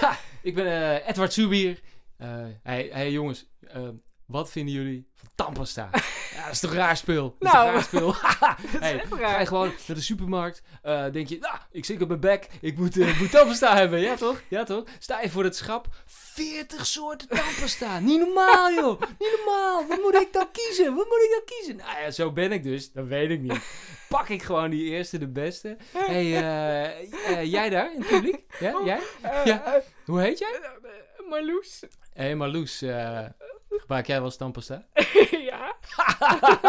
[SPEAKER 1] ha, ik ben eh, Edward Subier. Eh hey, hey, jongens, eh, wat vinden jullie van tandpasta?
[SPEAKER 3] Ja, dat is toch raar spul? Dat is
[SPEAKER 2] Nou.
[SPEAKER 3] toch raar spul?
[SPEAKER 2] is
[SPEAKER 3] hey,
[SPEAKER 2] echt
[SPEAKER 3] ga je
[SPEAKER 2] raar.
[SPEAKER 3] gewoon naar de supermarkt, eh, denk je, nou, ik zit op mijn bek, ik moet, eh, ik moet tandpasta hebben. Ja toch? Ja toch? Sta je voor het schap, 40 soorten tandpasta. Niet normaal joh, niet normaal. Wat moet ik dan kiezen? Wat moet ik dan kiezen? Nou ja, zo ben ik dus, dat weet ik niet. Pak ik gewoon die eerste de beste. hey, eh, eh, jij daar in het publiek? Ja, jij?
[SPEAKER 2] Eh,
[SPEAKER 3] Ja.
[SPEAKER 2] eh,
[SPEAKER 3] Hoe heet jij?
[SPEAKER 2] eh, Marloes.
[SPEAKER 1] Hé, hey, maar Loes, eh, gebruik jij wel eens tandpasta?
[SPEAKER 2] ja.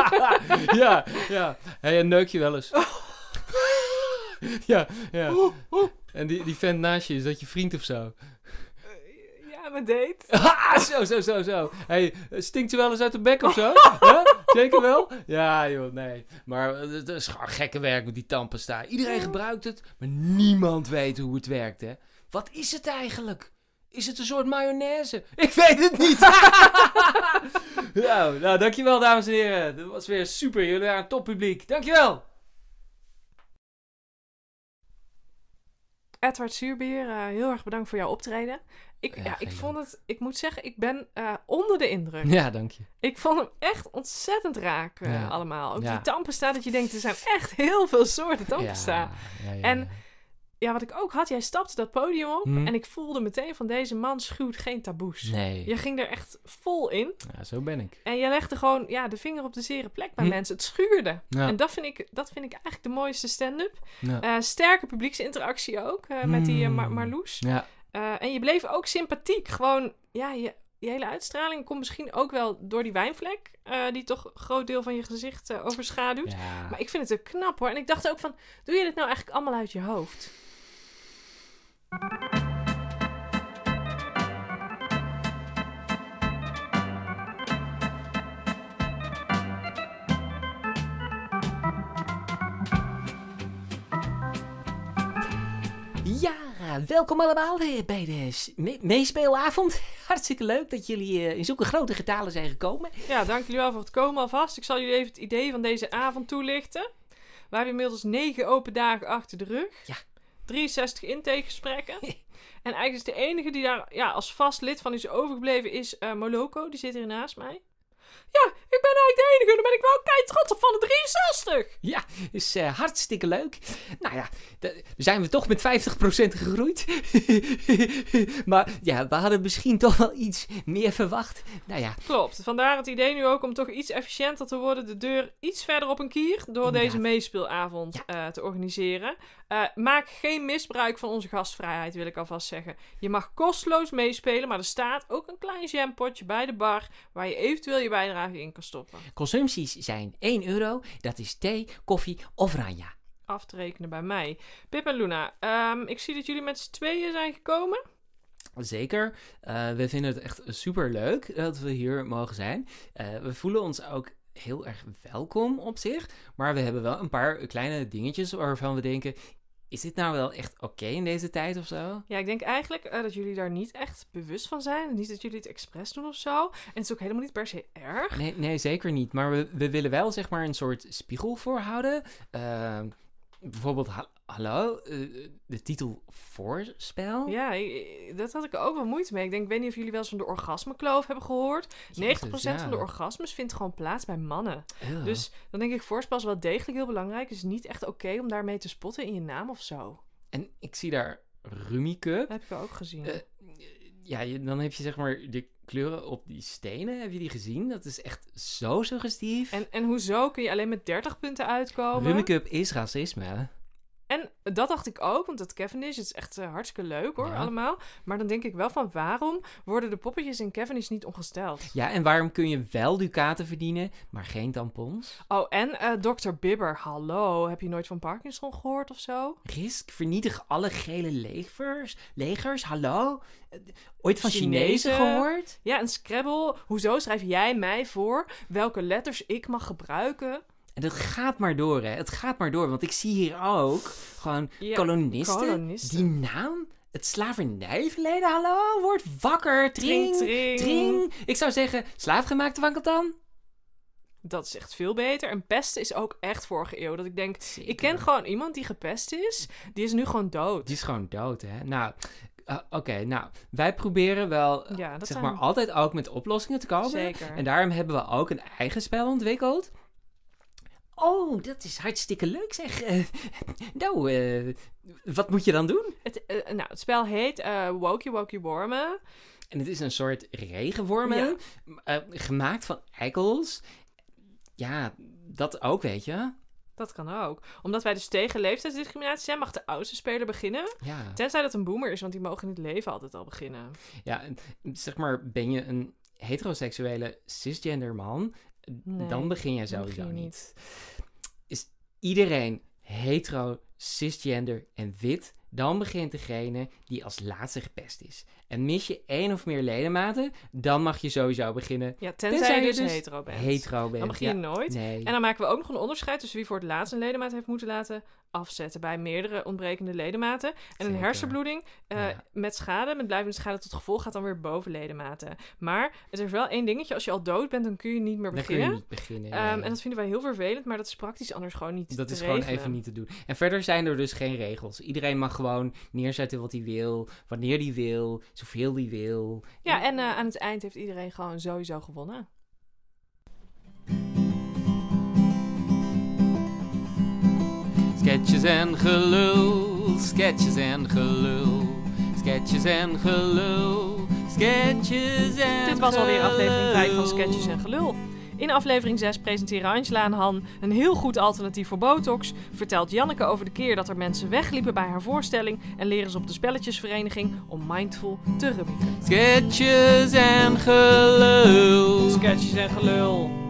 [SPEAKER 1] ja, ja. Hé, hey, en neuk je wel eens? ja, ja. En die, die vent naast je, is dat je vriend of zo?
[SPEAKER 2] Eh, ja, mijn date.
[SPEAKER 1] Ah, zo, zo, zo, zo. Hey, stinkt ze wel eens uit de bek of zo? Huh? Zeker wel? Ja, joh, nee. Maar eh, het is gewoon gekke werk met die tandpasta.
[SPEAKER 3] Iedereen gebruikt het, maar niemand weet hoe het werkt, hè? Wat is het eigenlijk? Is het een soort mayonaise? Ik weet het niet. nou, nou, dankjewel, dames en heren. Dat was weer super. Jullie waren een toppubliek. Dankjewel.
[SPEAKER 2] Edward Zuurbier, eh, heel erg bedankt voor jouw optreden. Ik,
[SPEAKER 1] Ja,
[SPEAKER 2] ja,
[SPEAKER 1] geen
[SPEAKER 2] ik vond het, ik moet zeggen, ik ben eh, onder de indruk.
[SPEAKER 1] Ja, dank je.
[SPEAKER 2] Ik vond hem echt ontzettend raak eh,
[SPEAKER 1] Ja.
[SPEAKER 2] allemaal. Ook
[SPEAKER 1] Ja.
[SPEAKER 2] die tandpasta, dat je denkt, er zijn echt heel veel soorten tandpasta. Ja,
[SPEAKER 1] Ja, ja, ja.
[SPEAKER 2] En- wat ik ook had, jij stapte dat podium op
[SPEAKER 1] Hmm.
[SPEAKER 2] en ik voelde meteen van deze man schuwt geen taboes.
[SPEAKER 1] Nee,
[SPEAKER 2] Je ging er echt vol in
[SPEAKER 1] ja, zo ben ik.
[SPEAKER 2] en je legde gewoon ja, de vinger op de zere plek bij
[SPEAKER 1] Hm.
[SPEAKER 2] mensen. Het schuurde.
[SPEAKER 1] Ja.
[SPEAKER 2] En dat vind, ik, dat vind ik eigenlijk de mooiste stand-up.
[SPEAKER 1] Ja.
[SPEAKER 2] Eh, sterke publieksinteractie ook eh, met die eh, Mar-
[SPEAKER 1] Hmm.
[SPEAKER 2] Marloes.
[SPEAKER 1] Ja,
[SPEAKER 2] Eh, en je bleef ook sympathiek. Gewoon, ja, je, je hele uitstraling komt misschien ook wel door die wijnvlek. eh, die toch een groot deel van je gezicht eh, overschaduwt.
[SPEAKER 1] ja.
[SPEAKER 2] Maar ik vind het ook knap hoor. En ik dacht ook van, doe je dit nou eigenlijk allemaal uit je hoofd?
[SPEAKER 3] Ja, welkom allemaal weer bij de s- me- meespeelavond. Hartstikke leuk dat jullie eh, in zulke grote getalen zijn gekomen.
[SPEAKER 2] Ja, dank jullie wel voor het komen alvast. Ik zal jullie even het idee van deze avond toelichten. We hebben inmiddels negen open dagen achter de rug.
[SPEAKER 3] Ja.
[SPEAKER 2] 63 intakegesprekken. en eigenlijk is de enige die daar ja, als vast lid van is overgebleven is eh, Moloko. Die zit hier naast mij. Ja, ik ben eigenlijk de enige. Daar ben ik wel kei trots op van de 63.
[SPEAKER 3] Is eh, hartstikke leuk. Nou ja, d- zijn we toch met 50% gegroeid. maar ja, we hadden misschien toch wel iets meer verwacht. Nou ja,
[SPEAKER 2] Klopt. Vandaar het idee nu ook om toch iets efficiënter te worden. De deur iets verder op een kier. Door
[SPEAKER 3] Inderdaad.
[SPEAKER 2] deze meespeelavond eh, te organiseren. Eh, maak geen misbruik van onze gastvrijheid, wil ik alvast zeggen. Je mag kosteloos meespelen, maar er staat ook een klein jampotje bij de bar. Waar je eventueel je bijdrage in kan stoppen.
[SPEAKER 3] consumpties zijn 1 euro. Dat is thee, koffie of ranja.
[SPEAKER 2] Af te rekenen bij mij. Pip en Luna, ehm, ik zie dat jullie met z'n tweeën zijn gekomen.
[SPEAKER 1] Zeker. Eh, we vinden het echt super leuk dat we hier mogen zijn. Eh, we voelen ons ook heel erg welkom op zich. Maar we hebben wel een paar kleine dingetjes waarvan we denken: is dit nou wel echt oké in deze tijd of zo?
[SPEAKER 2] Ja, ik denk eigenlijk eh, dat jullie daar niet echt bewust van zijn. Niet dat jullie het expres doen of zo. En het is ook helemaal niet per se erg.
[SPEAKER 1] Nee, nee zeker niet. Maar we, we willen wel zeg maar een soort spiegel voor houden. Ehm, bijvoorbeeld, ha- hallo, eh, de titel voorspel.
[SPEAKER 2] Ja, i- i- dat had ik ook wel moeite mee. Ik denk, ik weet niet of jullie wel eens van de orgasmekloof hebben gehoord. 90% van de
[SPEAKER 1] ja.
[SPEAKER 2] orgasmes vindt gewoon plaats bij mannen.
[SPEAKER 1] Ew.
[SPEAKER 2] Dus dan denk ik, voorspel is wel degelijk heel belangrijk. Het is niet echt oké om daarmee te spotten in je naam of zo.
[SPEAKER 1] En ik zie daar Rummy Cup.
[SPEAKER 2] Dat heb ik ook gezien.
[SPEAKER 1] Eh, ja, je- dan heb je zeg maar de kleuren op die stenen. Heb je die gezien? Dat is echt zo suggestief.
[SPEAKER 2] en, en hoezo kun je alleen met 30 punten uitkomen?
[SPEAKER 1] Rummy Cup is racisme. hè?
[SPEAKER 2] En dat dacht ik ook, want dat Cavendish het is echt eh, hartstikke leuk hoor,
[SPEAKER 1] Ja.
[SPEAKER 2] allemaal. Maar dan denk ik wel van, waarom worden de poppetjes in Cavendish niet ongesteld?
[SPEAKER 1] Ja, en waarom kun je wel ducaten verdienen, maar geen tampons?
[SPEAKER 2] Oh, en eh, Dr. Bibber, hallo. Heb je nooit van Parkinson gehoord of zo?
[SPEAKER 1] Risk, vernietig alle gele legers. Legers, hallo? Eh, Ooit van Chinezen,
[SPEAKER 2] Chinezen.
[SPEAKER 1] gehoord?
[SPEAKER 2] Ja, en Scrabble, hoezo schrijf jij mij voor welke letters ik mag gebruiken?
[SPEAKER 1] En dat gaat maar door, hè. Het gaat maar door, want ik zie hier ook gewoon
[SPEAKER 2] Ja,
[SPEAKER 1] kolonisten.
[SPEAKER 2] kolonisten.
[SPEAKER 1] Die naam? Het slavernijverleden, hallo? Word wakker,
[SPEAKER 2] Tring,
[SPEAKER 1] tring.
[SPEAKER 2] tring.
[SPEAKER 1] Tring. Ik zou zeggen, slaafgemaakte wankeltan.
[SPEAKER 2] Dat is echt veel beter. En pesten is ook echt vorige eeuw. Dat ik denk,
[SPEAKER 1] Zeker.
[SPEAKER 2] ik ken gewoon iemand die gepest is, die is nu gewoon dood.
[SPEAKER 1] Die is gewoon dood, hè? Nou, Ah, Oké, nou, wij proberen wel eh,
[SPEAKER 2] Ja, dat
[SPEAKER 1] zeg
[SPEAKER 2] zijn
[SPEAKER 1] maar altijd ook met oplossingen te komen.
[SPEAKER 2] zeker.
[SPEAKER 1] En daarom hebben we ook een eigen spel ontwikkeld. Oh, dat is hartstikke leuk zeg. Eh, nou, eh, wat moet je dan doen?
[SPEAKER 2] Het, eh, nou, het spel heet eh Wokey Wokey Wormen.
[SPEAKER 1] En het is een soort regenwormen,
[SPEAKER 2] Ja.
[SPEAKER 1] eh, gemaakt van eikels. Ja, dat ook, weet je.
[SPEAKER 2] Dat kan ook. Omdat wij dus tegen leeftijdsdiscriminatie zijn, mag de oudste speler beginnen.
[SPEAKER 1] Ja.
[SPEAKER 2] Tenzij dat een boomer is, want die mogen in het leven altijd al beginnen.
[SPEAKER 1] Ja, en, zeg maar, ben je een heteroseksuele cisgender man,
[SPEAKER 2] Nee,
[SPEAKER 1] dan begin jij
[SPEAKER 2] dan begin
[SPEAKER 1] sowieso
[SPEAKER 2] je
[SPEAKER 1] niet. Is iedereen hetero, cisgender en wit, dan begint degene die als laatste gepest is. En mis je één of meer ledematen, dan mag je sowieso beginnen
[SPEAKER 2] Ja, tenzij,
[SPEAKER 1] Tenzij
[SPEAKER 2] je
[SPEAKER 1] je
[SPEAKER 2] dus,
[SPEAKER 1] dus
[SPEAKER 2] hetero bent.
[SPEAKER 1] hetero bent.
[SPEAKER 2] Dan begin je
[SPEAKER 1] Ja,
[SPEAKER 2] nooit.
[SPEAKER 1] Nee.
[SPEAKER 2] En dan maken we ook nog een onderscheid tussen wie voor het laatst een ledemaat heeft moeten laten afzetten bij meerdere ontbrekende ledematen. En een
[SPEAKER 1] Zeker.
[SPEAKER 2] hersenbloeding eh,
[SPEAKER 1] Ja.
[SPEAKER 2] met schade, met blijvende schade tot gevolg, gaat dan weer boven ledematen. Maar er is wel één dingetje, als je al dood bent, dan kun je niet meer
[SPEAKER 1] Dan kun je
[SPEAKER 2] beginnen.
[SPEAKER 1] niet beginnen.
[SPEAKER 2] Ehm,
[SPEAKER 1] nee.
[SPEAKER 2] en dat vinden wij heel vervelend, maar dat is praktisch anders gewoon niet
[SPEAKER 1] Dat
[SPEAKER 2] te
[SPEAKER 1] is gewoon
[SPEAKER 2] regelen.
[SPEAKER 1] even niet te doen. En verder zijn er dus geen regels. Iedereen mag gewoon neerzetten wat hij wil, wanneer hij wil, zoveel hij wil.
[SPEAKER 2] Ja, en eh, aan het eind heeft iedereen gewoon sowieso gewonnen.
[SPEAKER 1] Sketches en gelul, sketches en gelul, sketches en gelul, sketches en
[SPEAKER 2] Dit was alweer aflevering 5 van Sketches en Gelul. In aflevering 6 presenteren Angela en Han een heel goed alternatief voor botox. Vertelt Janneke over de keer dat er mensen wegliepen bij haar voorstelling. En leren ze op de spelletjesvereniging om mindful te rubrieken.
[SPEAKER 1] Sketches en gelul.
[SPEAKER 2] Sketches en Gelul.